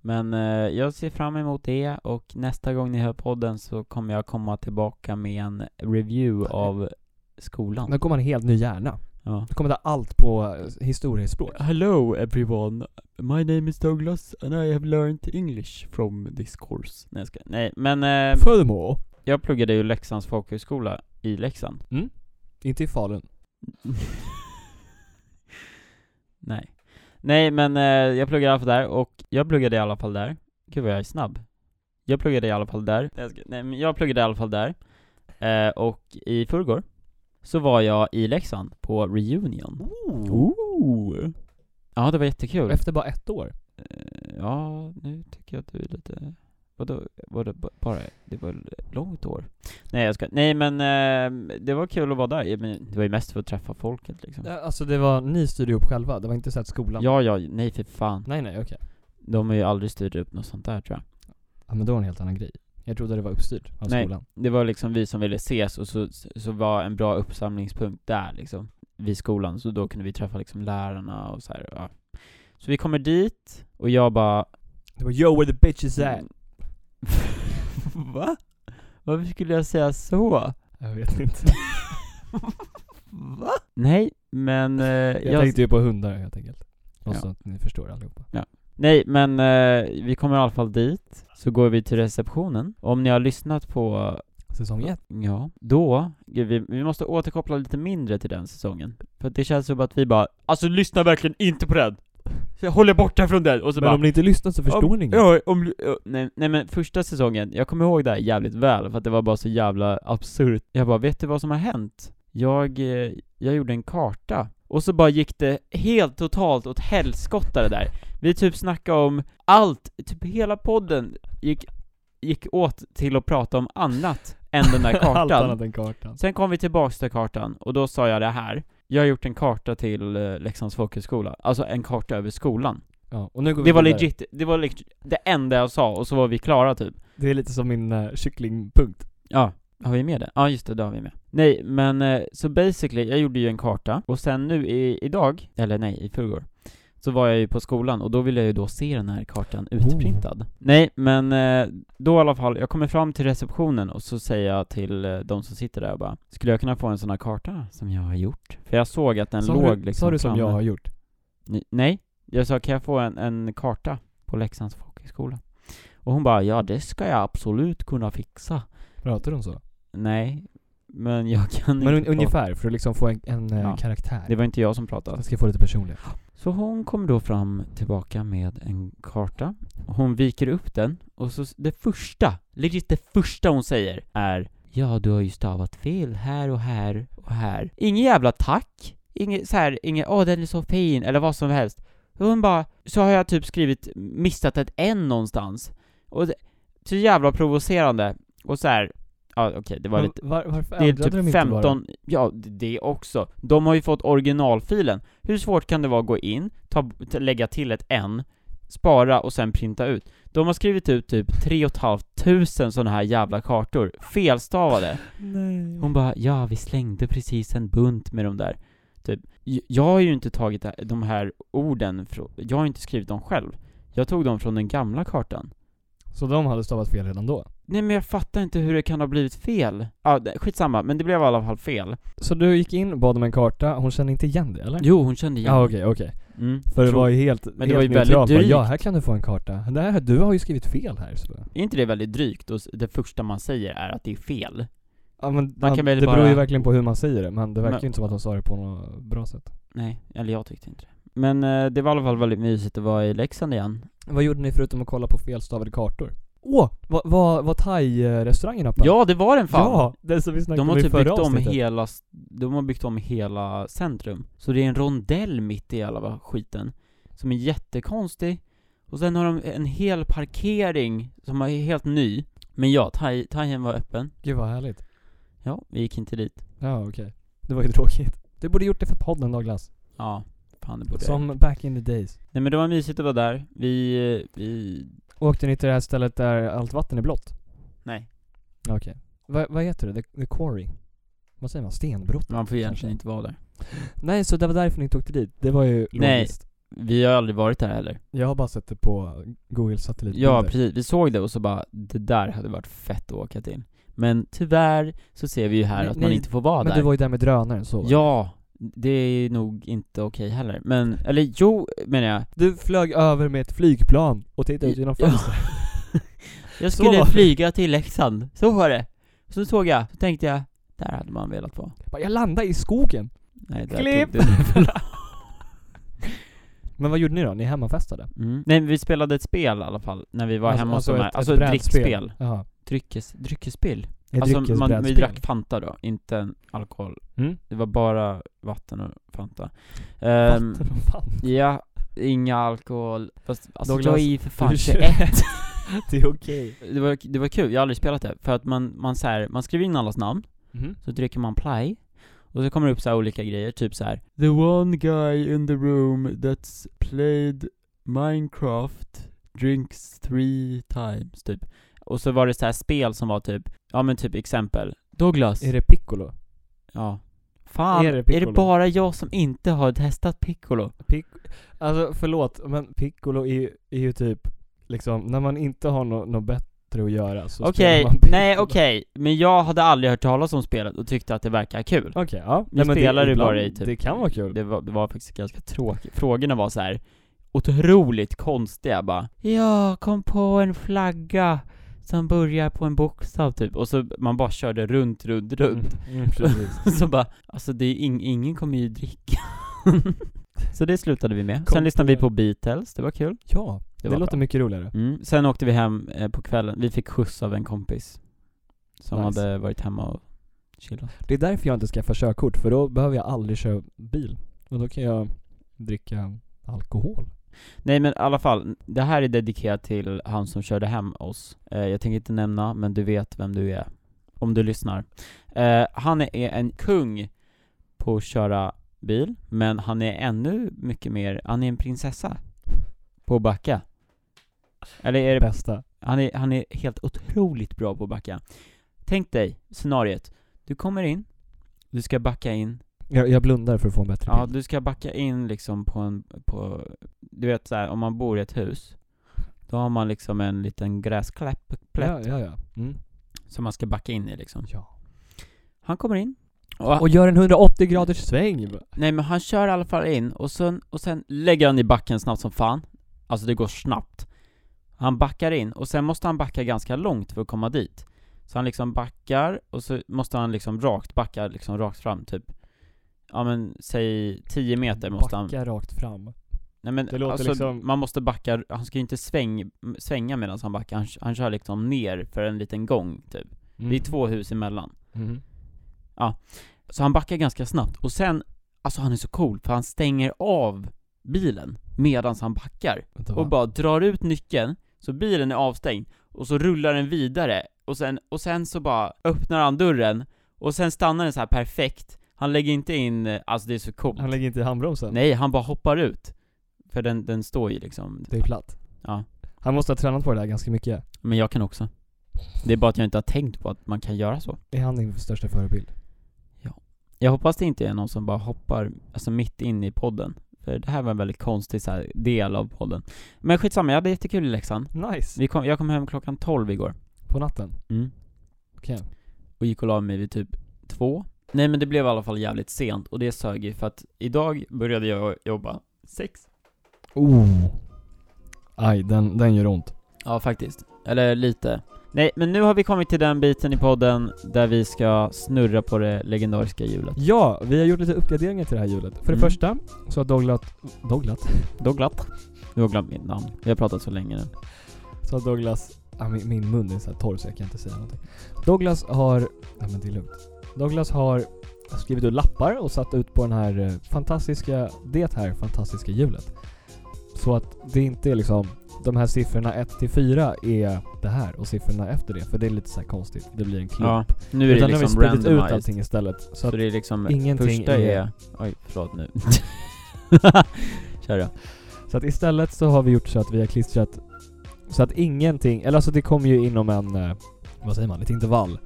A: Men eh, jag ser fram emot det och nästa gång ni hör podden så kommer jag komma tillbaka med en review av skolan.
B: Då kommer man en helt ny hjärna.
A: Ja.
B: Då kommer det allt på eh, historiespråk.
A: Hello everyone, my name is Douglas and I have learned English from this course. Nej, jag ska, nej men eh,
B: Furthermore,
A: jag pluggade ju Leksands folkhögskola i Leksand.
B: inte i Falun.
A: [laughs] nej. Nej men eh, jag pluggade i alla fall där och jag pluggade i alla fall där. Gud vad jag är snabb. Jag pluggade i alla fall där. Nej, jag ska, nej men jag pluggade i alla fall där. Eh, och i förrgår så var jag i Leksand på reunion. Ooh. Ja det var jättekul.
B: Oh. Efter bara ett år.
A: Eh, Ja, nu tycker jag att du är lite... Vadå, var det ba- bara, det var ett långt år? Nej jag ska, nej men eh, det var kul att vara där, Ja, men det var ju mest för att träffa folket liksom
B: Ja, Alltså det var, ni styrde upp själva, det var inte så att skolan...
A: Ja ja, nej för fan,
B: Nej nej okej.
A: de har ju aldrig styrt upp något sånt där tror jag
B: Ja men då var det en helt annan grej. Jag trodde det var uppstyrt av
A: Nej.
B: skolan.
A: Det var liksom vi som ville ses och så, så var en bra uppsamlingspunkt där liksom Vid skolan, så då kunde vi träffa liksom lärarna och så här, ja. Så vi kommer dit, och jag bara "Mm."
B: Det var 'Yo where the bitch is at'
A: [laughs] Va? Varför skulle jag säga så?
B: Jag vet inte.
A: [laughs] Va? Nej, men... Eh, jag
B: Jag, tänkte ju på hundar helt enkelt. Och
A: Ja.
B: så att ni förstår allihopa.
A: Nej, men eh, vi kommer i alla fall dit, så går vi till receptionen. Om ni har lyssnat på...
B: Säsong 1.
A: Ja. Då, gud, vi, vi måste återkoppla lite mindre till den säsongen. För att det känns som att vi bara Alltså lyssna verkligen inte på den! jag håller borta från den! Och så
B: Men
A: bara,
B: om ni inte lyssnar så förstår
A: om,
B: ni inget.
A: ja, om, ja, nej, nej men första säsongen, jag kommer ihåg det här jävligt väl för att det var bara så jävla absurt. Jag bara, vet du vad som har hänt? Jag, eh, jag gjorde en karta och så bara gick det helt totalt åt helskotta det där. Vi typ snackade om allt, typ hela podden gick, gick åt till att prata om annat än den
B: [laughs]
A: där
B: Allt
A: kartan.
B: annat än kartan.
A: Sen kom vi tillbaks till kartan, och då sa jag det här Jag har gjort en karta till eh, Leksands folkhögskola, alltså en karta över skolan
B: Ja, och nu går vi
A: Det var
B: vidare.
A: legit, det var legit det enda jag sa, och så var vi klara typ
B: Det är lite som min uh, kycklingpunkt.
A: Ja, har vi med det? Ja just det, det har vi med Nej men, eh, så basically, jag gjorde ju en karta, och sen nu i, idag, eller nej, i förrgår så var jag ju på skolan och då ville jag ju då se den här kartan utprintad Nej men eh, då i alla fall, jag kommer fram till receptionen och så säger jag till eh, de som sitter där bara Skulle jag kunna få en sån här karta som jag har gjort? För jag såg att den
B: Sa
A: låg
B: du,
A: liksom
B: sa du som
A: framme.
B: jag har gjort?
A: Ni- Nej, jag sa kan jag få en, en karta på Leksands folkhögskola? Och hon bara ja det ska jag absolut kunna fixa
B: Pratar de
A: Mm.
B: så?
A: Nej, men jag kan
B: Men
A: inte
B: un-
A: prata.
B: ungefär, för att liksom få en, en eh,
A: Ja.
B: karaktär.
A: Det var inte jag som pratade
B: Jag ska få lite personlighet.
A: Så hon kom då fram tillbaka med en karta, hon viker upp den och så s- det första, legit det första hon säger är Ja, du har ju stavat fel här och här och här. Inget jävla tack, inget så här, inget åh den är så fin eller vad som helst. Hon bara, så har jag typ skrivit missat ett N någonstans. Och det, så jävla provocerande. Och så här, ja okej det var
B: Men
A: lite
B: var, varför
A: det är
B: ändrade de
A: typ
B: inte bara?
A: 15, ja det- det också. De har ju fått originalfilen. Hur svårt kan det vara att gå in, ta, ta, lägga till ett N, spara och sen printa ut? De har skrivit ut typ 3 tusen sådana här jävla kartor, felstavade.
B: Nej.
A: Hon bara 'Ja, vi slängde precis en bunt med de där' Typ, J- jag har ju inte tagit det- de här orden, frå- jag har inte skrivit dem själv. Jag tog dem från den gamla kartan.
B: Så de hade stavat fel redan då?
A: Nej men jag fattar inte hur det kan ha blivit fel. Ja, det- skitsamma, men det blev i alla fall fel.
B: Så du gick in, bad om en karta, hon kände inte igen det eller?
A: Jo, hon kände igen
B: Ja okej, okej.
A: Mm.
B: För det
A: Tror-
B: var ju helt, men
A: det
B: helt
A: var ju väldigt
B: neutralt. Bara,
A: drygt.
B: Ja, här kan du få en karta. Det här, du har ju skrivit fel här. Så.
A: Är inte det väldigt drygt? Och s- det första man säger är att det är fel?
B: Ja, men,
A: Man
B: ja,
A: kan väl
B: det beror
A: bara-
B: ju verkligen på hur man säger det, men det verkar
A: Men-
B: ju inte som att de sa det på något bra sätt.
A: Nej, eller jag tyckte inte det. Men eh, det var i alla fall väldigt mysigt att vara i Leksand igen.
B: Vad gjorde ni förutom att kolla på felstavade kartor? Åh! Vad var, var thai-restaurangen öppen?
A: Ja, det var den fan!
B: Ja! Den som vi snackade
A: de har
B: om i
A: typ byggt
B: förra
A: om
B: avsnittet.
A: hela, s- de har byggt om hela centrum. Så det är en rondell mitt i alla va- skiten, som är jättekonstig. Och sen har de en hel parkering som är helt ny. Men ja, thai- thaien var öppen.
B: Gud vad härligt.
A: Ja, vi gick inte dit.
B: Ja okej. Det var ju tråkigt. Du borde gjort det för podden Douglas.
A: Ja, fan det borde jag
B: Som back in the days.
A: Nej men det var mysigt att vara där. Vi, eh, vi...
B: Åkte ni till det här stället där allt vatten är blått?
A: Nej.
B: Ja, Okej. Va, vad heter det? The, the Quarry? Vad säger man? Stenbrott?
A: Man får
B: Kanske.
A: egentligen inte vara där.
B: Nej, så det var därför ni inte åkte dit? Det var ju
A: Nej.
B: logiskt.
A: Vi har aldrig varit där heller.
B: Nej. Jag har bara sett det på Google satellitbilder.
A: Ja, precis. Vi såg det och så bara, det där hade varit fett att åka till. Men tyvärr så ser vi ju här
B: Nej,
A: att man
B: nej,
A: inte får vara
B: Men
A: där.
B: du var ju där med drönaren så va?
A: Ja, det är nog inte okej heller. Men, eller jo, menar jag.
B: Du flög över med ett flygplan och tittade ut genom
A: Ja.
B: fönstret.
A: [laughs] Jag
B: Så var
A: skulle
B: det.
A: flyga till Leksand, så var det. Så såg jag, så tänkte jag, där hade man velat vara.
B: Bara, Jag landade i skogen.
A: Nej, där
B: Klipp.
A: tog det.
B: [laughs] Men vad gjorde ni då? Ni hemmafestade?
A: Mm. Nej, men vi spelade ett spel i alla fall, när vi var hemma hos de här. Alltså ett
B: brädspel.
A: drickspel.
B: Jaha.
A: Dryckes, dryckesspel.
B: Ett
A: Alltså man, vi
B: dryckesbrädspel.
A: drack Ehm, Fanta då, inte en alkohol.
B: Mm.
A: Det var bara vatten och Fanta. Ehm,
B: Vatten och fan.
A: ja, inga alkohol. Fast alltså
B: Douglas,
A: jag är ju för fan
B: du kör-
A: 21.
B: [laughs] Det är okej.
A: [laughs] det, var, det var kul, jag har aldrig spelat det. För att man, man, så här, man skriver in allas namn,
B: Mhm.
A: så dricker man play. Och så kommer det upp så här olika grejer, typ så här. The one guy in the room that's played Minecraft drinks three times, typ. Och så var det så här spel som var typ, ja men typ exempel. Douglas.
B: Är det piccolo?
A: Ja. Fan,
B: Är
A: är
B: det
A: det,
B: piccolo?
A: bara jag som inte har testat piccolo?
B: Pic alltså förlåt, men piccolo är, ju- är ju typ liksom, när man inte har något no bättre att göra så
A: Okej,
B: spelar man piccolo.
A: nej okej, men jag hade aldrig hört talas om spelet och tyckte att det verkar kul.
B: Okej, ja.
A: Vi spelar det bara i typ...
B: Det kan vara kul.
A: Det var, det var faktiskt ganska tråkigt. Frågorna var så här otroligt konstiga bara. Jag kom på en flagga som börjar på en bokstav typ, och så man bara körde runt, runt, runt. [laughs]
B: Mm, mm, precis.
A: så bara, alltså det är ing, ingen kommer ju dricka. [laughs] Så det slutade vi med.
B: Kom
A: Sen lyssnade vi
B: på-
A: på Beatles, det var kul.
B: Ja, det,
A: var
B: låter
A: bra.
B: mycket roligare.
A: Mm. Sen åkte vi hem eh, på kvällen, vi fick skjuts av en kompis som
B: Nice.
A: hade varit hemma och chillat.
B: Det är därför jag inte skaffar körkort, för då behöver jag aldrig köra bil. Och då kan jag dricka alkohol.
A: Nej men i alla fall, det här är dedikerat till han som körde hem oss. Eh, jag tänker inte nämna, men du vet vem du är. Om du lyssnar. Eh, han är en kung på att köra bil, men han är ännu mycket mer, han är en prinsessa. På att backa. Eller är
B: Det
A: det
B: bästa.
A: Han är, han är helt otroligt bra på att backa. Tänk dig scenariet. Du kommer in, du ska backa in,
B: Jag, jag blundar för att få en bättre
A: ja
B: bild.
A: du ska backa in liksom på en, på, du vet såhär om man bor i ett hus, då har man liksom en liten gräskläpp, plätt,
B: Ja, ja, ja. Mm.
A: som man ska backa in i liksom.
B: ja.
A: Han kommer in, och,
B: Och gör en 180 graders sväng.
A: nej men han kör i alla fall in, och sen, och sen lägger han i backen snabbt som fan. Alltså det går snabbt. Han backar in, och sen måste han backa ganska långt för att komma dit. Så han liksom backar, och så måste han liksom rakt backa, liksom rakt fram typ. Ja men säg 10 meter måste han
B: Backa rakt fram.
A: Nej men
B: Det låter
A: alltså,
B: liksom-
A: man måste backa, han ska ju inte sväng, svänga medan han backar, han, han kör liksom ner för en liten gång typ. Det är två hus emellan.
B: Mm.
A: Så han backar ganska snabbt, och sen, alltså han är så cool, för han stänger av bilen medan han backar.
B: Vänta,
A: Och
B: va?
A: bara drar ut nyckeln, så bilen är avstängd, och så rullar den vidare, och sen, och sen så bara öppnar han dörren, och sen stannar den så här perfekt. Han lägger inte in, eh, alltså det är så coolt.
B: Han lägger inte i handbromsen.
A: Nej, han bara hoppar ut. För den, den står ju liksom
B: Det är platt.
A: Ja.
B: Han måste ha tränat på det där ganska mycket.
A: Men jag kan också. Det är bara att jag inte har tänkt på att man kan göra så.
B: Är han din största förebild?
A: Jag hoppas det inte är någon som bara hoppar, alltså mitt in i podden. För det här var en väldigt konstig så här, del av podden. Men skitsamma, jag hade jättekul i Leksand.
B: Nice.
A: Vi kom, jag kom hem klockan 12 igår.
B: På natten?
A: Mm.
B: Okej.
A: Och gick och la mig vid typ två. Nej men det blev i alla fall jävligt sent och det sög ju för att idag började jag jobba sex.
B: Oh. Aj, den, den gör ont.
A: Ja faktiskt. Eller lite. Nej men nu har vi kommit till den biten i podden där vi ska snurra på det legendariska hjulet.
B: Ja, vi har gjort lite uppgraderingar till det här hjulet. För det
A: Mm.
B: första så har Douglas... Douglas?
A: [laughs] Douglas. Du har glömt mitt namn. Vi har pratat så länge nu.
B: Så har Douglas... Ah, min, min mun är så här torr så jag kan inte säga någonting. Douglas har... Nej men det är lugnt. Douglas har skrivit ut lappar och satt ut på den här eh, fantastiska... Det här fantastiska hjulet. Så att det inte är liksom... De här siffrorna 1 till 4 är det här och siffrorna efter det. För det är lite så här konstigt. Det blir en klump.
A: Ja, nu är det
B: Utan nu har vi
A: liksom
B: spridit ut
A: randomized.
B: allting istället. Så,
A: Så
B: att
A: det är liksom,
B: ingenting
A: första
B: är-
A: är... Oj, förlåt
B: [laughs]
A: nu. Kör då.
B: Så att istället så har vi gjort så att vi har klistrat så att ingenting, eller alltså det kommer ju inom en, eh, vad säger man, ett intervall.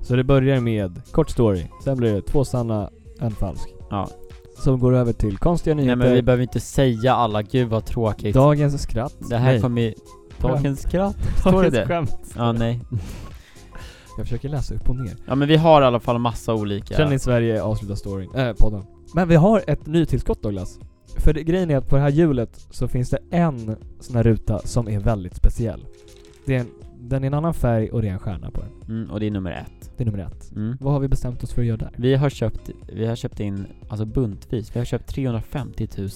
B: Så det börjar med kort story, sen blir det två sanna, en falsk.
A: Ja.
B: Som går över till konstiga
A: Nej
B: nyheter,
A: men vi behöver inte säga alla, gud vad tråkigt.
B: dagens skratt.
A: det här
B: nej,
A: kommer ju... Dagens skratt? Står det
B: dagens
A: det?
B: skämt.
A: Ja, nej.
B: Jag försöker läsa upp och ner.
A: Ja men vi har i alla fall massa olika...
B: Känn i Sverige avslutar storyn, äh, podden. Men vi har ett nytillskott Douglas. För det, grejen är att på det här hjulet så finns det en sån här ruta som är väldigt speciell. Det är en, den är en annan färg och det är en stjärna på den.
A: Mm, och det är nummer ett.
B: Det är nummer ett.
A: Mm.
B: Vad har vi bestämt oss för att göra där?
A: Vi har köpt, vi har köpt in, alltså buntvis, vi har köpt 350 000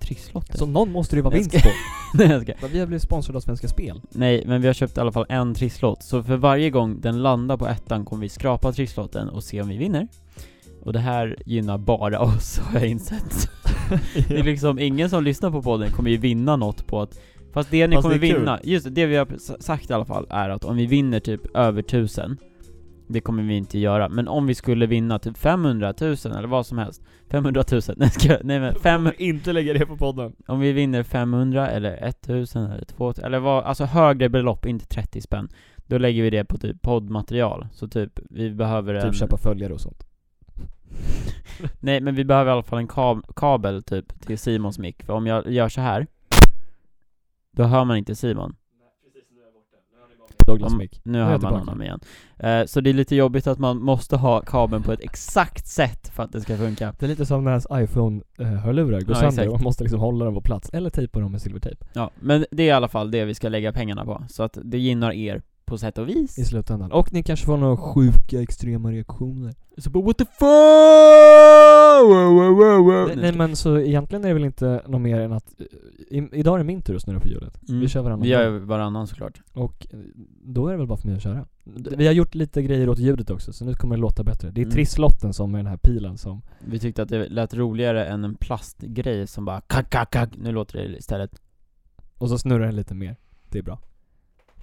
A: trisslotter.
B: Så någon måste det ju vara
A: Jag
B: vinst på.
A: [laughs] Nej jag skojar.
B: Men Vi har blivit sponsrade av Svenska Spel.
A: Nej, men vi har köpt i alla fall en trisslott, så för varje gång den landar på ettan kommer vi skrapa trisslotten och se om vi vinner. Och det här gynnar bara [laughs] oss, har jag
B: [laughs]
A: insett. Det är liksom ingen som lyssnar på podden kommer ju vinna något på att Fast det ni
B: Fast
A: kommer
B: det är kul.
A: vinna, just det, det vi har s- sagt i alla fall är att om vi vinner typ över 1000 Det kommer vi inte göra, men om vi skulle vinna typ 500 000 eller vad som helst 500 000, [laughs] nej ska jag- nej men fem,
B: inte lägga det på podden.
A: om vi vinner 500 eller 1000 eller 2000 eller vad, alltså högre belopp, inte 30 spänn Då lägger vi det på typ poddmaterial, så typ vi behöver en
B: Typ köpa följare och sånt.
A: Nej men vi behöver i alla fall en kab- kabel typ till Simons mick, för om jag gör så här Då hör man inte Simon
B: Douglas
A: Om-
B: Mick.
A: Nu
B: är
A: hör
B: jag
A: man
B: tillbaka.
A: honom igen. Eh, så det är lite jobbigt att man måste ha kabeln på ett exakt sätt för att det ska funka.
B: Det är lite som när ens iPhone-hörlurar
A: Ja,
B: går sönder
A: exakt.
B: och man måste liksom hålla dem på plats. Eller tejpa dem med silvertejp.
A: Ja, men det är i alla fall det vi ska lägga pengarna på. Så att det gynnar er. på sätt och vis.
B: i slutändan. Och ni kanske får några sjuka extrema reaktioner.
A: Så bara what the fuck! Wow, wow, wow, wow.
B: Nej, nej men så egentligen är det väl inte något mer än att eh, i, idag är det min tur att snurra på hjulet.
A: Mm.
B: Vi kör varannan
A: Vi gör
B: gång.
A: varannan såklart.
B: Och eh, då är det väl bara för mig att köra. D- Vi har gjort lite grejer åt ljudet också så nu kommer det låta bättre. Det är
A: Mm.
B: trisslotten som är den här pilen som...
A: Vi tyckte att det lät roligare än en plastgrej som bara kack, kack, kack. Nu låter det istället.
B: Och så snurrar den lite mer. Det är bra.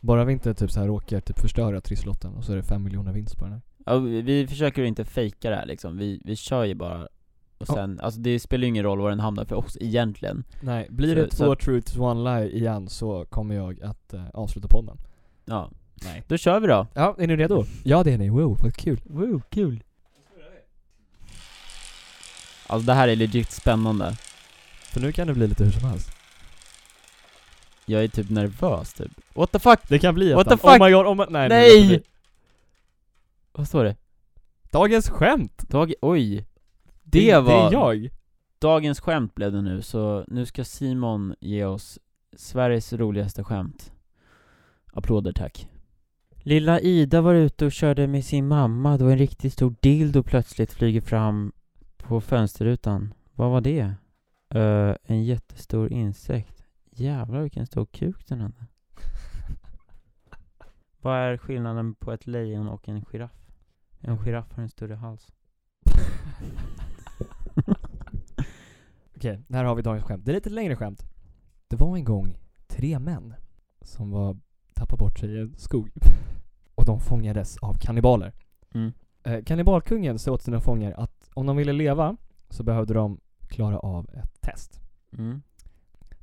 B: Bara vi inte typ så här råkar typ förstöra trisslotten och så är det fem miljoner vinst på den här.
A: Ja, vi, vi försöker ju inte fejka det här liksom. Vi, vi kör ju bara. Och
B: Ja.
A: sen, alltså det spelar ju ingen roll var den hamnar för oss egentligen.
B: Nej,
A: Så-
B: blir det
A: så
B: två truths one lie igen så kommer jag att eh, avsluta podden.
A: Ja.
B: Nej.
A: Då kör vi då.
B: Ja, är ni redo? Ja det är ni, wow vad kul.
A: Wow, kul. Alltså det här är legit spännande.
B: För nu kan det bli lite hur som helst.
A: Jag är typ nervös typ. What the fuck?
B: Det kan bli
A: What
B: ettan.
A: the fuck?
B: Oh my god, oh my... Nej! det
A: Nej!
B: låter bli.
A: Vad står det?
B: Dagens skämt!
A: Dag... Oj. Det,
B: är-
A: var...
B: Det är jag!
A: Dagens skämt blev det nu, så nu ska Simon ge oss Sveriges roligaste skämt. Applåder tack. Lilla Ida var ute och körde med sin mamma då en riktigt stor dildo plötsligt flyger fram på fönsterrutan. Vad var det? Ö, en jättestor insekt. Jävlar vilken stor kuk den hade. Vad är skillnaden på ett lejon och en giraff? En giraff har en större [laughs] hals.
B: Okej, här har vi dagens skämt. Det är lite längre skämt. Det var en gång tre män som var tappade bort sig i en skog. [laughs] Och de fångades av kannibaler.
A: Mm.
B: Eh, kannibalkungen sa åt sina fångar att om de ville leva så behövde de klara av ett test.
A: Mm.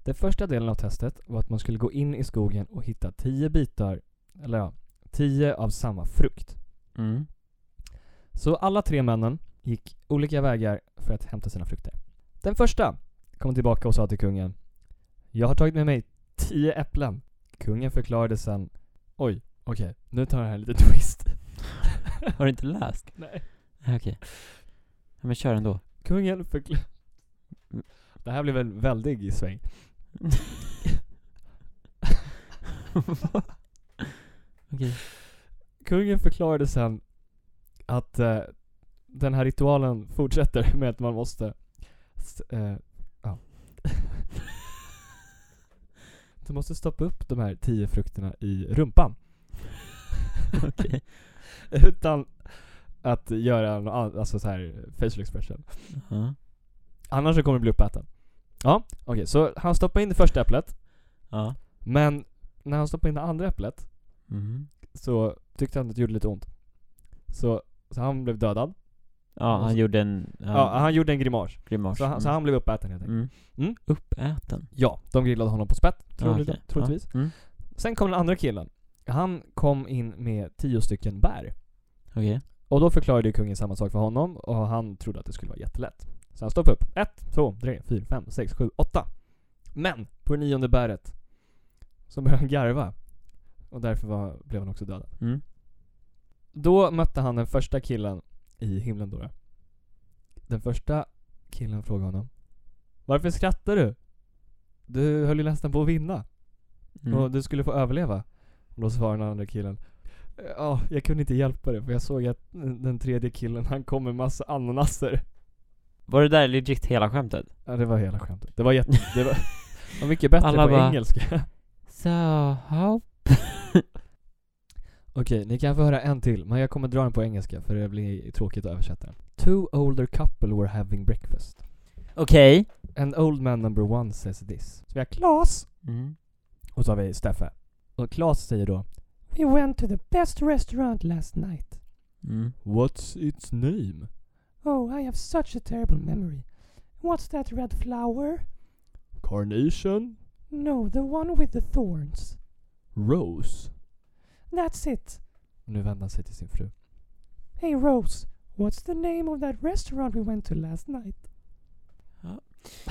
B: Den första delen av testet var att man skulle gå in i skogen och hitta tio bitar, eller ja, tio av samma frukt.
A: Mm.
B: Så alla tre männen gick olika vägar för att hämta sina frukter. Den första kom tillbaka och sa till kungen Jag har tagit med mig tio äpplen. Kungen förklarade sen Oj, okej, nu tar jag här lite [laughs] twist.
A: Har du inte läst?
B: Nej.
A: Okej. Ja, men kör ändå.
B: Kungen förklarade... [laughs] Det här blev väl väldigt i [laughs] sväng.
A: Okej.
B: Kungen förklarade sen att eh, den här ritualen fortsätter [laughs] med att man måste... s- Eh, ja. [laughs] du måste stoppa upp de här tio frukterna i [laughs] rumpan.
A: [laughs] Okej.
B: [laughs] Utan att göra en an- alltså så här facial expression.
A: Ja.
B: Annars så kommer du bli uppäten. Ja, okej. så han stoppar in det första äpplet.
A: Ja.
B: Men när han stoppar in det andra äpplet
A: Mhm.
B: så tyckte han att det gjorde lite ont. Så, så han blev dödad.
A: Ja, han gjorde en... Han,
B: Ja, han gjorde en grimas.
A: grimas.
B: Så han, så han blev uppäten helt enkelt.
A: Mm.
B: Mm.
A: Uppäten.
B: Ja, de grillade honom på spett,
A: Ja,
B: troligt,
A: okej.
B: troligtvis.
A: Ja. Mm.
B: Sen kom den andra killen. Han kom in med tio stycken bär.
A: Okej.
B: Och då förklarade ju kungen samma sak för honom och han trodde att det skulle vara jättelätt. Så han stoppade upp. Ett, två, tre, fyra, fem, sex, sju, åtta. Men på det nionde bäret så började han garva. Och därför var, blev han också dödad.
A: Mm.
B: Då mötte han den första killen i himlen då. då. Den första killen frågade honom. Varför skrattar du? Du höll ju nästan på att vinna.
A: Mm.
B: Och du skulle få överleva. Och då svarade den andra killen. Ja, jag kunde inte hjälpa det för jag såg att den tredje killen han kom med massa ananaser.
A: Var det där legit hela skämtet?
B: Ja, det var hela skämtet. Det var jätte... Det var, var mycket bättre
A: Alla
B: på
A: bara-
B: engelska. [laughs]
A: So, how?
B: Okej, ni kan få höra en till, men jag kommer dra den på engelska för det blir tråkigt att översätta den. Two older couple were having breakfast.
A: [laughs] Okej.
B: An old man number one says this. Så vi har Klas
A: Mm.
B: och så har vi Steffe. Och Klas säger då We went to the best restaurant last night.
A: Mm.
B: What's its name? Hmm. Oh, I have such a terrible memory. What's that red flower? Carnation? No, the one with the thorns. Rose? That's it. Nu vänder han sig till sin fru. Hey Rose, what's the name of that restaurant we went to last night?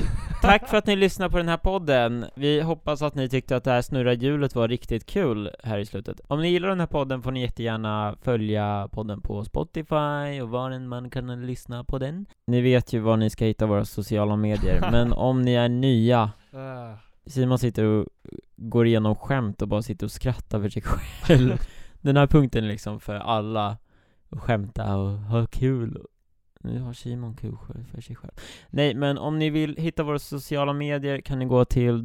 B: [laughs]
A: Tack för att ni lyssnar på den här podden. Vi hoppas att ni tyckte att det här snurra hjulet var riktigt kul här i slutet. Om ni gillar den här podden får ni jättegärna följa podden på Spotify och var än man kan lyssna på den. Ni vet ju var ni ska hitta våra sociala medier, men om ni är nya
B: Ah.
A: Simon sitter och går igenom skämt och bara sitter och skrattar för sig [laughs] själv Den här punkten är liksom för alla att skämta och ha kul Nu har Simon kul själv- för sig själv Nej men om ni vill hitta våra sociala medier kan ni gå till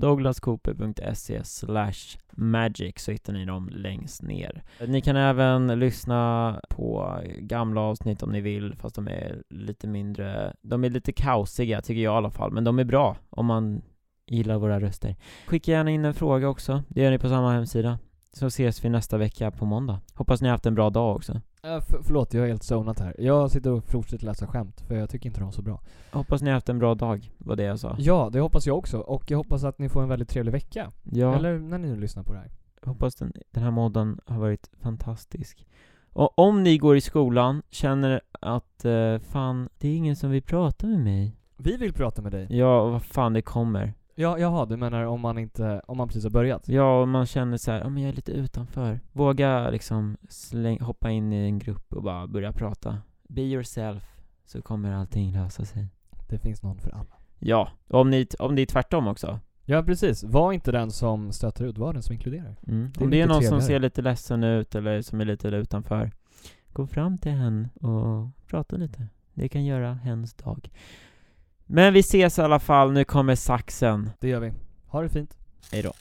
A: douglascooper.se slash magic så hittar ni dem längst ner Ni kan även lyssna på gamla avsnitt om ni vill fast de är lite mindre De är lite kaosiga tycker jag i alla fall men de är bra om man gillar våra röster Skicka gärna in en fråga också, det gör ni på samma hemsida så ses vi nästa vecka på måndag. Hoppas ni har haft en bra dag också.
B: Äh, för, förlåt, jag har helt zonat här. Jag sitter och fortsätter läsa skämt, för jag tycker inte de är så bra.
A: Hoppas ni har haft en bra dag, var det jag sa.
B: Ja, det hoppas jag också. Och jag hoppas att ni får en väldigt trevlig vecka.
A: Ja,
B: Eller när ni nu lyssnar på det här.
A: hoppas den, den här månaden har varit fantastisk. Och om ni går i skolan, känner att eh, fan, det är ingen som vill prata med mig.
B: Vi vill prata med dig.
A: Ja, och vad fan det kommer.
B: Ja, jaha, du menar om man inte, om man precis har börjat?
A: Ja, och man känner så här, ja men jag är lite utanför. Våga liksom släng, hoppa in i en grupp och bara börja prata. Be yourself, så kommer allting lösa sig.
B: Det finns någon för alla.
A: Ja, och om ni, om det är tvärtom också.
B: Ja, precis. Var inte den som stöter ut, var den som inkluderar.
A: Mm.
B: Det är
A: Om det är
B: lite
A: någon som
B: trevligare.
A: ser lite ledsen ut eller som är lite utanför, gå fram till henne och prata lite. Det kan göra hennes dag. Men vi ses i alla fall, nu kommer saxen.
B: Det gör vi. Ha det fint.
A: Hejdå.